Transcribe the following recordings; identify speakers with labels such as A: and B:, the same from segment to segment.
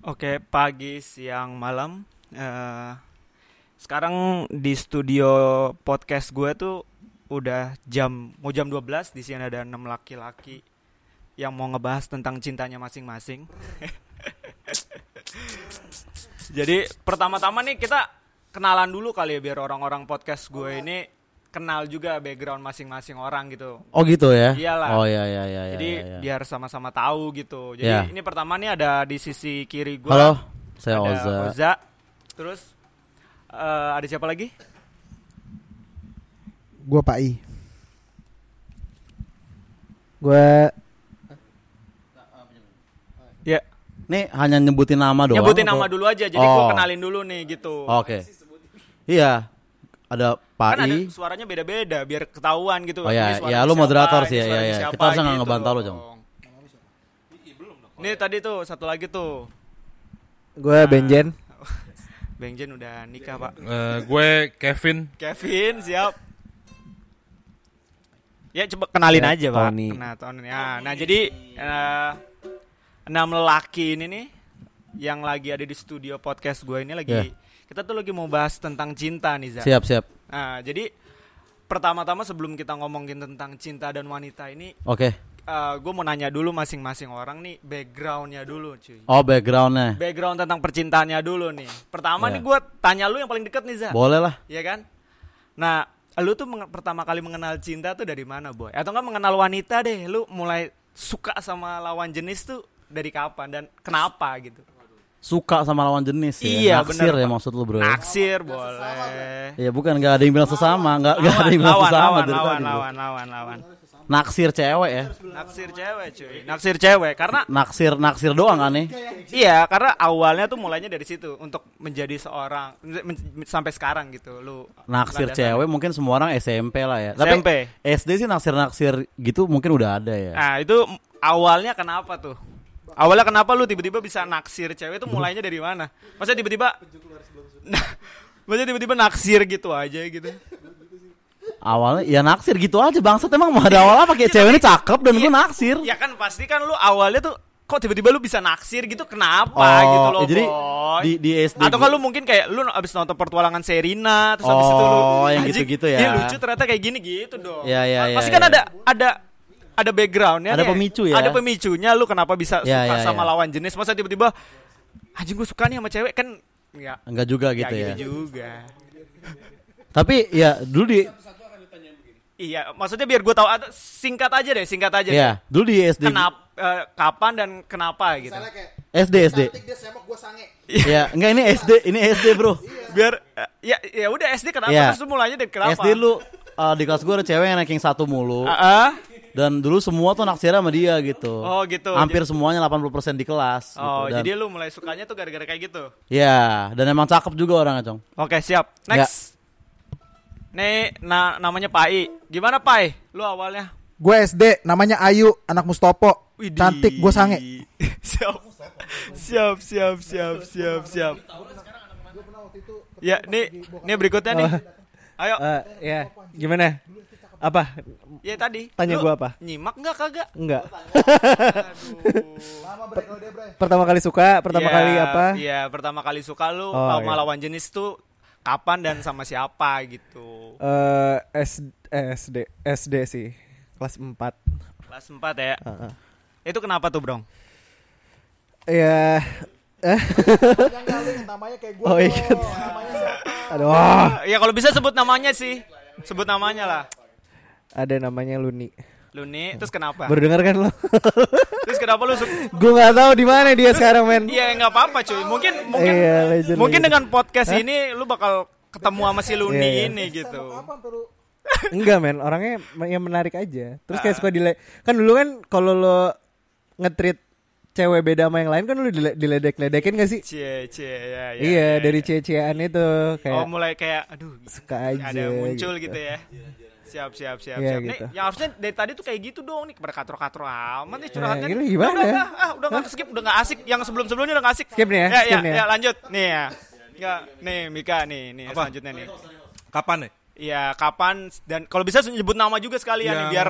A: Oke, pagi, siang, malam. Eh, sekarang di studio podcast gue tuh udah jam mau jam 12 di sini ada enam laki-laki yang mau ngebahas tentang cintanya masing-masing. Jadi pertama-tama nih kita kenalan dulu kali ya biar orang-orang podcast gue ini kenal juga background masing-masing orang gitu.
B: Oh gitu ya?
A: Iyalah.
B: Oh ya ya ya. ya,
A: Jadi
B: ya, ya.
A: biar sama-sama tahu gitu. Jadi
B: Ya.
A: ini pertama nih ada di sisi kiri gue.
B: Halo, saya
A: kan ada
B: Oza.
A: Oza. Terus eh, ada siapa lagi?
C: Gue Pak I. Gue
A: Ya.
B: Nih hanya nyebutin nama doang.
A: Nyebutin
B: atau-
A: nama dulu aja. Jadi gue
B: Oh.
A: kenalin dulu nih gitu.
B: Oke. Iya. Ada Pak
A: Kan ada
B: I.
A: suaranya beda-beda biar ketahuan gitu.
B: Oh, iya,
A: Ini suaranya
B: iya, lu
A: siapa,
B: moderator
A: ini
B: sih, iya,
A: suaranya
B: iya.
A: siapa
B: Kita harusnya nggak
A: gitu
B: ngebantah lu,
A: dong.
B: Jong.
A: Nih tadi tuh satu lagi tuh.
C: gue
A: Nah.
C: Benjen.
A: Bang Jen udah nikah, Pak.
D: Eh, gue Kevin
A: Kevin siap. Ya coba kenalin
C: Ya,
A: aja
C: Tony.
A: pak. Nah Tony. Nah, nah, jadi eh, enam lelaki ini nih yang lagi ada di studio podcast gue ini lagi
B: Ya.
A: kita tuh lagi mau bahas tentang cinta nih Zak.
B: Siap siap.
A: Nah jadi pertama-tama sebelum kita ngomongin tentang cinta dan wanita ini
B: Oke.
A: gue mau nanya dulu masing-masing orang nih backgroundnya dulu cuy.
B: Oh backgroundnya.
A: Background tentang percintaannya dulu nih. Pertama
B: Ya.
A: nih gue tanya lu yang paling deket nih Zak.
B: Boleh lah.
A: Iya kan? Nah, lu tuh menge- pertama kali mengenal cinta tuh dari mana, Boy? Atau enggak mengenal wanita deh, lu mulai suka sama lawan jenis tuh dari kapan dan kenapa gitu?
B: Suka sama lawan jenis
A: Iya,
B: ya. Naksir
A: bener,
B: ya
A: Pak.
B: maksir lu bro. ya?
A: Naksir boleh.
B: Iya bukan nggak ada yang bilang sesama, nggak nggak ada
A: Lawan,
B: yang bilang
A: lawan,
B: sesama
A: lawan, lawan,
B: dari tadi. bro.
A: lawan, lawan, lawan.
B: Naksir cewek ya.
A: Naksir cewek, cuy. Naksir cewek karena
B: Naksir naksir doang kan nih.
A: iya, karena awalnya tuh mulainya dari situ untuk menjadi seorang men- sampai sekarang gitu. Lu
B: Naksir
A: landasan.
B: cewek mungkin semua orang SMP lah ya.
A: SMP.
B: Tapi SD sih naksir-naksir gitu mungkin udah ada ya.
A: Nah, itu awalnya kenapa tuh? Awalnya kenapa lu tiba-tiba bisa naksir cewek itu mulainya dari mana? Masa tiba-tiba Nah, masa tiba-tiba naksir gitu aja gitu.
B: Awalnya ya naksir gitu aja bangsat emang mau ada awal apa kayak cewek ini cakep dan gue naksir.
A: Ya kan pasti kan lu awalnya tuh kok tiba-tiba lu bisa naksir gitu kenapa
B: Oh,
A: gitu loh.
B: ya jadi
A: Boy.
B: di- di SD
A: Atau
B: gua-
A: kalau mungkin kayak lu abis nonton pertualangan Serina terus abis itu lu
B: Oh, yang
A: anjing,
B: gitu-gitu ya.
A: Dia lucu ternyata kayak gini gitu dong.
B: Ya, ya, ya,
A: pasti kan
B: ya.
A: ada ada ada backgroundnya
B: Ada
A: nih.
B: pemicu ya.
A: Ada pemicunya lu kenapa bisa
B: Ya,
A: suka
B: ya,
A: sama
B: ya.
A: lawan jenis masa tiba-tiba anjing gue suka nih sama cewek kan ya
B: Enggak juga
A: ya
B: gitu ya.
A: gitu juga.
B: Tapi ya dulu di
A: Iya, maksudnya biar gue tahu atau singkat aja deh, singkat aja. deh.
B: ya, dulu di
A: Iya.
B: SD.
A: Kenapa kapan dan kenapa gitu.
C: kayak
B: SD SD.
C: dia semok gue sange.
B: Ya, enggak ini SD, ini SD, Bro.
A: biar eh, ya ya udah SD kenapa
B: Iya.
A: terus lu mulainya dari kenapa
B: SD lu eh, di kelas gue ada cewek yang ranking satu mulu
A: Ah, ah.
B: dan dulu semua tuh naksir sama dia gitu.
A: Oh, gitu.
B: Hampir semuanya 80% di kelas gitu.
A: oh
B: Dan-
A: jadi lu mulai sukanya tuh gara-gara kayak gitu
B: Ya, dan emang cakep juga orangnya, Cong.
A: oke siap
E: Ya.
A: next nih na- namanya Pai gimana Pai lu awalnya
C: Gue SD, namanya Ayu, anak Mustopo.
A: Widih.
C: Cantik, gue sange.
A: siap siap siap siap siap siap ya nih nih berikutnya nih ayo
E: Eh, ya, gimana? Apa?
A: ya tadi
E: tanya
A: Lu
E: gua apa?
A: nyimak nggak kagak
E: Enggak.
A: Aduh.
E: Pertama kali suka, pertama
A: Iya,
E: kali apa?
A: Iya, pertama kali suka lu
E: Oh,
A: sama
E: iya.
A: lawan jenis tuh kapan dan sama siapa gitu.
E: Eh, S- eh, SD, SD sih. Kelas 4.
A: Kelas 4 ya.
E: Heeh.
A: Itu kenapa tuh, Bro?
E: Ya,
C: namanya kayak gue.
E: oh
A: gitu.
E: iya. Aduh,
A: Ya kalau bisa sebut namanya sih. Sebut namanya lah.
E: ada namanya Luni.
A: Lu nih, terus kenapa?
E: Baru dengar kan lo?
A: Terus kenapa lu su-
E: Gue nggak tahu di mana dia sekarang, men.
A: Iya, nggak apa-apa, cuy. Mungkin mungkin
E: Iya, legend,
A: mungkin
E: legend.
A: dengan podcast ini lu bakal ketemu sama si Luni
E: Iya, iya.
A: ini gitu.
E: Enggak, men. Orangnya me- yang menarik aja. Terus kayak suka dile kan dulu kan kalau lo ngetrit cewek beda sama yang lain kan lu dile- diledek-ledekin gak sih?
A: Cie, cie, ya, ya.
E: iya,
A: ya,
E: dari
A: ya.
E: cie-ciean itu
A: Oh,
E: kayak
A: mulai kayak aduh
E: suka aja.
A: ada muncul gitu,
E: gitu
A: ya. Siap siap siap
E: Iya,
A: siap.
E: gitu.
A: Nih, yang harusnya dari tadi tuh kayak gitu dong nih pada katro-katro amat nih curhatnya.
E: gini
A: nih.
E: Iya, gimana
A: Udah,
E: ya?
A: udah, ah, udah nggak skip, udah nggak asik. Yang sebelum-sebelumnya udah nggak asik.
E: Skip nih ya,
A: Ya,
E: skip
A: ya,
E: nih ya.
A: ya, lanjut. Nih ya. Ya, nih Mika nih, nih selanjutnya nih.
D: kapan ya?
A: Iya, kapan dan kalau bisa nyebut nama juga sekalian nih biar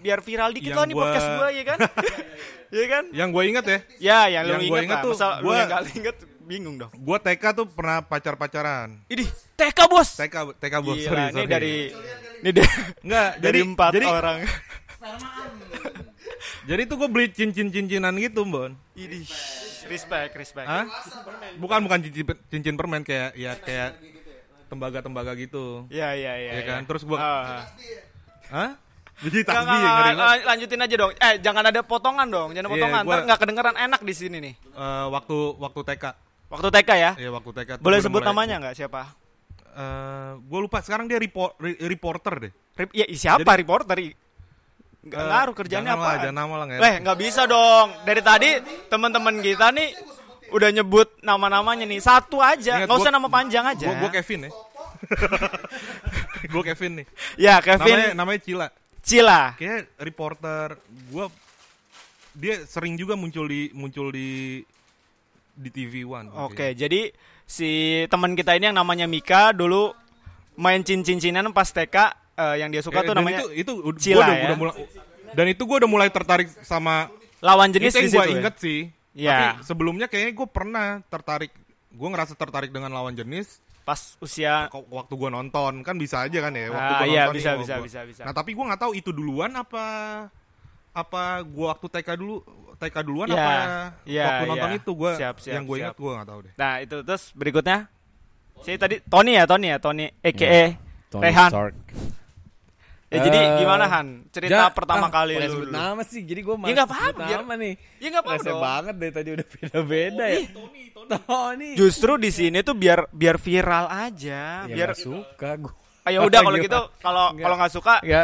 A: biar viral dikit
D: Yang
A: lah nih
D: gua-
A: podcast gue ya kan ya kan
D: Yang gue inget ya,
A: ya yang lu
D: Yang gua
A: inget
D: inget
A: lah
D: tuh,
A: Masa lu
D: gua-
A: yang gak inget bingung dong
D: gue TK tuh pernah pacar-pacaran.
A: ini TK bos
D: TK, TK bos,
A: Gila,
D: sorry,
A: ini
D: sorry.
A: dari ini dari,
D: Nggak,
A: dari
D: jadi-
A: empat
D: jadi-
A: orang
D: Jadi tuh gue beli cincin-cincinan gitu, Bon.
A: ini respect respect
D: Hah? Bukan bukan cincin, cincin permen kayak ya kayak tembaga-tembaga gitu.
A: ya ya ya
D: Iya kan?
A: ya.
D: Terus gua-
A: Ah.
D: Hah? Jadi
A: Nggak,
D: tasbih
A: nggak,
D: ngeri
A: nggak,
D: banget.
A: lan- lanjutin aja dong. Eh, jangan ada potongan dong, jangan ada
D: Iya,
A: potongan.
D: gua-
A: Ntar nggak kedengeran enak di sini nih.
D: Eh, waktu waktu TK.
A: Waktu TK ya.
D: Iya, waktu TK. tuh
A: Boleh
D: udah
A: sebut
D: mulai-
A: namanya nggak siapa?
D: Eh, gue lupa sekarang dia repo- re- reporter deh.
A: Rip- ya, siapa reporter? I- Nggak
D: Eh,
A: ngaruh kerjanya
D: jangan lah,
A: apa?
D: jangan nama lah, nggak
A: Leh, nggak bisa dong. Dari tadi teman-teman kita nih udah nyebut nama-namanya nih. Satu aja,
D: Ingat,
A: nggak usah
D: gua-
A: nama panjang aja.
D: Gue gue Kevin ya. gue Kevin nih.
A: Ya,
D: Namanya
A: Kevin
D: namanya Cila.
A: Cila.
D: Kayak reporter gue dia sering juga muncul di muncul di di TV One.
A: Oke, jadi si teman kita ini yang namanya Mika dulu main cincin-cincinan pas TK eh, yang dia suka
D: Eh,
A: tuh
D: dan
A: namanya
D: itu, itu ud- gua
A: Cila
D: udah,
A: ya.
D: udah mulai dan itu gue udah mulai tertarik sama
A: lawan jenis
D: itu
A: di
D: yang
A: situ.
D: gue
A: ya?
D: inget sih
A: Iya.
D: tapi sebelumnya kayaknya gue pernah tertarik gue ngerasa tertarik dengan lawan jenis
A: Pas usia
D: kok- waktu gue nonton kan bisa aja kan ya waktu
A: Iya. Ah,
D: gua
A: iya,
D: nonton
A: bisa,
D: nih, gua-
A: bisa,
D: gua-
A: bisa, bisa.
D: nah tapi gue nggak tahu itu duluan apa apa gue waktu TK dulu TK duluan
A: Iya,
D: apa
A: iya,
D: waktu nonton
A: iya.
D: itu gue
A: Siap, siap,
D: yang gue ingat
A: siap.
D: gue nggak tahu deh
A: Nah itu terus berikutnya Si tadi Tony ya Tony ya Tony EKE
B: Tony
A: Rehan
B: Stark.
A: Ya jadi
F: Eh,
A: gimana Han Cerita
F: Ja-
A: pertama
F: ah,
A: kali
F: boleh
A: lu
F: sebut
A: dulu.
F: nama sih jadi gue
A: Ya, nggak apa-apa, biar-
F: nama nih
A: Ya nggak apa-apa
F: Rese
A: dong.
F: banget dari tadi udah beda-beda ya Tony Tony
A: Justru di sini tuh biar biar viral aja
F: ya,
A: Biar
F: nggak suka gue
A: Ayo udah kalau gitu Kalau
F: Nggak.
A: kalau nggak suka
F: ya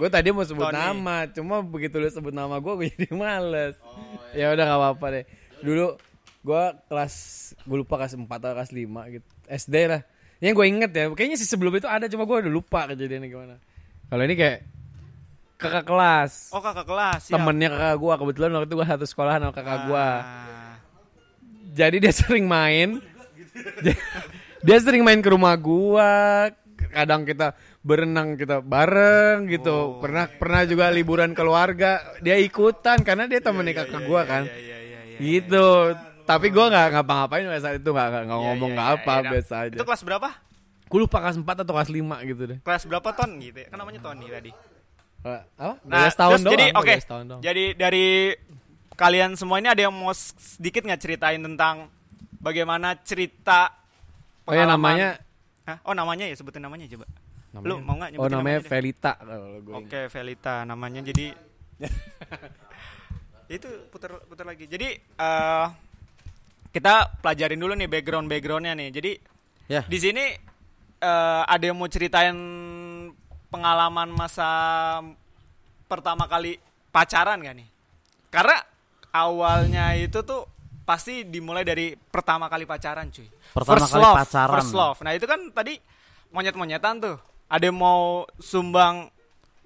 F: gue tadi mau sebut
A: Tony.
F: nama cuma begitu lu sebut nama gue gue jadi males
A: Oh, iya.
F: ya udah nggak apa-apa deh dulu gue kelas gue lupa kelas 4 atau kelas 5 gitu SD lah yang gue inget ya kayaknya sih sebelum itu ada cuma gue udah lupa kejadiannya gimana kalau ini kayak kakak kelas
A: Oh kakak kelas siap.
F: temennya kakak gua kebetulan waktu itu gua satu sekolah sama kakak gua
A: Ah.
F: jadi dia sering main dia sering main ke rumah gua kadang kita berenang kita
A: Oh,
F: bareng gitu pernah
A: iya,
F: pernah juga liburan keluarga dia ikutan karena dia temennya kakak gua kan
A: Iya iya iya
F: gitu tapi gua nggak ngapa-ngapain pada saat itu nggak nggak nggak
A: Iya,
F: ngomong
A: iya,
F: nggak
A: iya,
F: apa
A: iya.
F: biasa aja
A: Itu kelas berapa?
F: gua lupa kelas 4 atau kelas 5 gitu deh
A: Kelas berapa ton gitu ya Kan namanya Tony tadi
F: Eh, apa
A: Nah,
F: belas tahun
A: terus
F: doang
A: jadi
F: gua
A: oke.
F: belas tahun doang.
A: Jadi dari kalian semua ini ada yang mau s- sedikit nggak ceritain tentang bagaimana cerita
F: oh ya
A: pengalaman-
F: namanya
A: Hah? Oh, namanya ya sebutin namanya coba. Lu
F: namanya-
A: mau nggak
F: oh
A: nyebutin
F: namanya
A: deh?
F: Felita kalau gua
A: Oke, Velita namanya jadi itu putar putar lagi. Jadi eh kita pelajarin dulu nih background backgroundnya nih. Jadi
B: Ya.
A: di sini eh ada yang mau ceritain pengalaman masa pertama kali pacaran gak nih? Karena awalnya itu tuh pasti dimulai dari pertama kali pacaran cuy.
B: Pertama
A: first
B: kali
A: love,
B: pacaran.
A: First love. Nah itu kan tadi monyet-monyetan tuh. Ada yang mau sumbang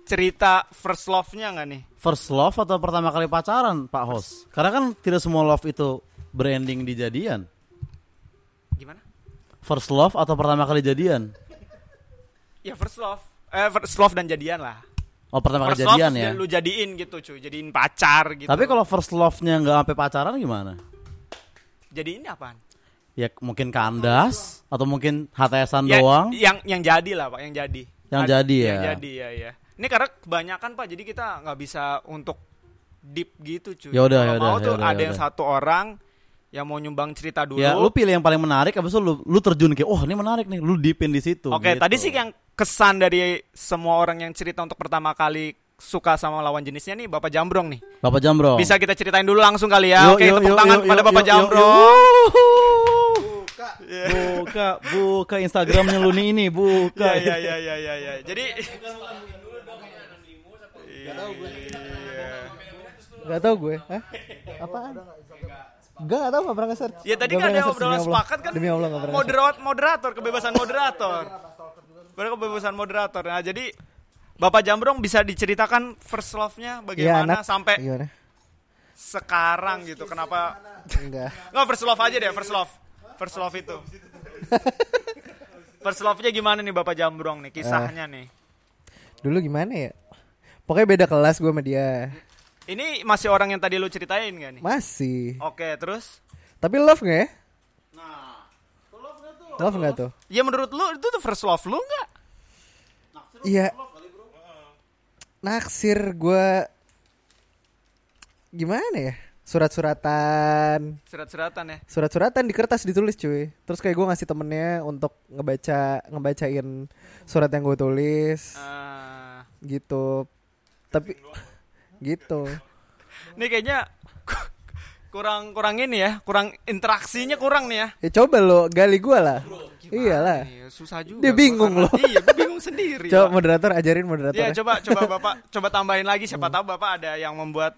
A: cerita first love-nya gak nih?
B: First love atau pertama kali pacaran, Pak Hos? Karena kan tidak semua love itu branding di jadian.
A: Gimana?
B: First love atau pertama kali jadian?
A: Ya first love. Eh first love dan jadian lah.
B: Oh, pertama
A: First
B: kali
A: love
B: jadian
A: terus
B: ya.
A: lu jadiin gitu cuy. Jadiin pacar gitu.
B: Tapi kalau first love-nya nggak sampai pacaran gimana?
A: Jadiin apaan?
B: Ya mungkin kandas atau mungkin HTSan
A: Ya,
B: doang.
A: yang yang jadi lah pak yang jadi
B: Yang
A: Ad-
B: jadi
A: yang
B: ya.
A: jadi ya ya ini karena kebanyakan pak jadi kita nggak bisa untuk deep gitu cuy
B: Yaudah,
A: Kalau
B: yaudah,
A: mau tuh
B: yaudah,
A: ada yang
B: yaudah.
A: satu orang yang mau nyumbang cerita dulu
B: Ya lu pilih yang paling menarik abis itu lu, lu terjun ke oh ini menarik nih lu dipin di situ.
A: oke
B: gitu.
A: tadi sih yang kesan dari semua orang yang cerita untuk pertama kali suka sama lawan jenisnya nih bapak jambrong nih
B: Bapak Jambrong.
A: bisa kita ceritain dulu langsung kali ya
B: Oh. Yo,
A: oke
B: yo,
A: tepuk
B: yo,
A: tangan
B: yo,
A: pada
B: yo,
A: bapak
B: yo, yo,
A: jambrong
B: buka buka Instagramnya lu nih ini
A: ya
B: buka.
A: ya ya ya ya ya jadi
E: Gak tau gue Hah? Apaan? Gak, gak tau gak pernah nge-search
A: Ya tadi kan
E: Nggak pernah
A: ada
E: nge-search,
A: obrolan
E: demi Allah.
A: sepakat kan
E: Demi Allah gak pernah nge-search.
A: moderat moderator kebebasan moderator. Benar kebebasan moderator. Nah, jadi Bapak Jambrong bisa diceritakan first love-nya
E: Iya,
A: bagaimana
E: anak.
A: sampai
E: Gimana?
A: sekarang gitu. Kenapa?
E: Enggak
A: Nggak first love aja deh, first love. First love itu.
E: Eh.
A: First love-nya gimana nih Bapak Jambrong nih kisahnya nih?
E: Dulu gimana ya Pokoknya beda kelas gue sama dia.
A: Ini masih orang yang tadi lu ceritain gak nih?
E: Masih.
A: Oke, terus?
E: Tapi love gak ya? Nah, love gak tuh?
A: Ya menurut lu itu tuh first love lu nggak?
E: Iya. Naksir gue gimana ya? Surat-suratan,
A: Surat-suratan ya.
E: surat-suratan di kertas ditulis cuy. Terus kayak gue ngasih temennya untuk ngebaca, ngebacain surat yang gue tulis
A: Eh,
E: gitu. Tapi gitu.
A: ini kayaknya kurang kurang ini ya, kurang interaksinya kurang nih ya.
E: Ya coba lo gali gue lah.
A: Gimana
E: Iyalah.
A: nih? Iya, susah juga.
E: Dia
A: Gua
E: bingung
A: karena-
E: loh.
A: Iya, gua bingung sendiri.
E: Coba
A: Pak.
E: moderator ajarin moderator. ya.
A: Iya, coba coba Bapak coba tambahin lagi siapa tahu Bapak ada yang membuat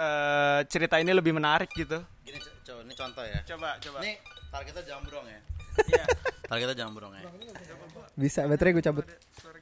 A: eh, cerita ini lebih menarik gitu.
G: Gini, co- co- ini contoh ya.
A: Coba coba.
G: Ini targetnya jambrong ya.
A: Iya.
G: Targetnya jambrong ya.
E: Bisa baterai gue cabut.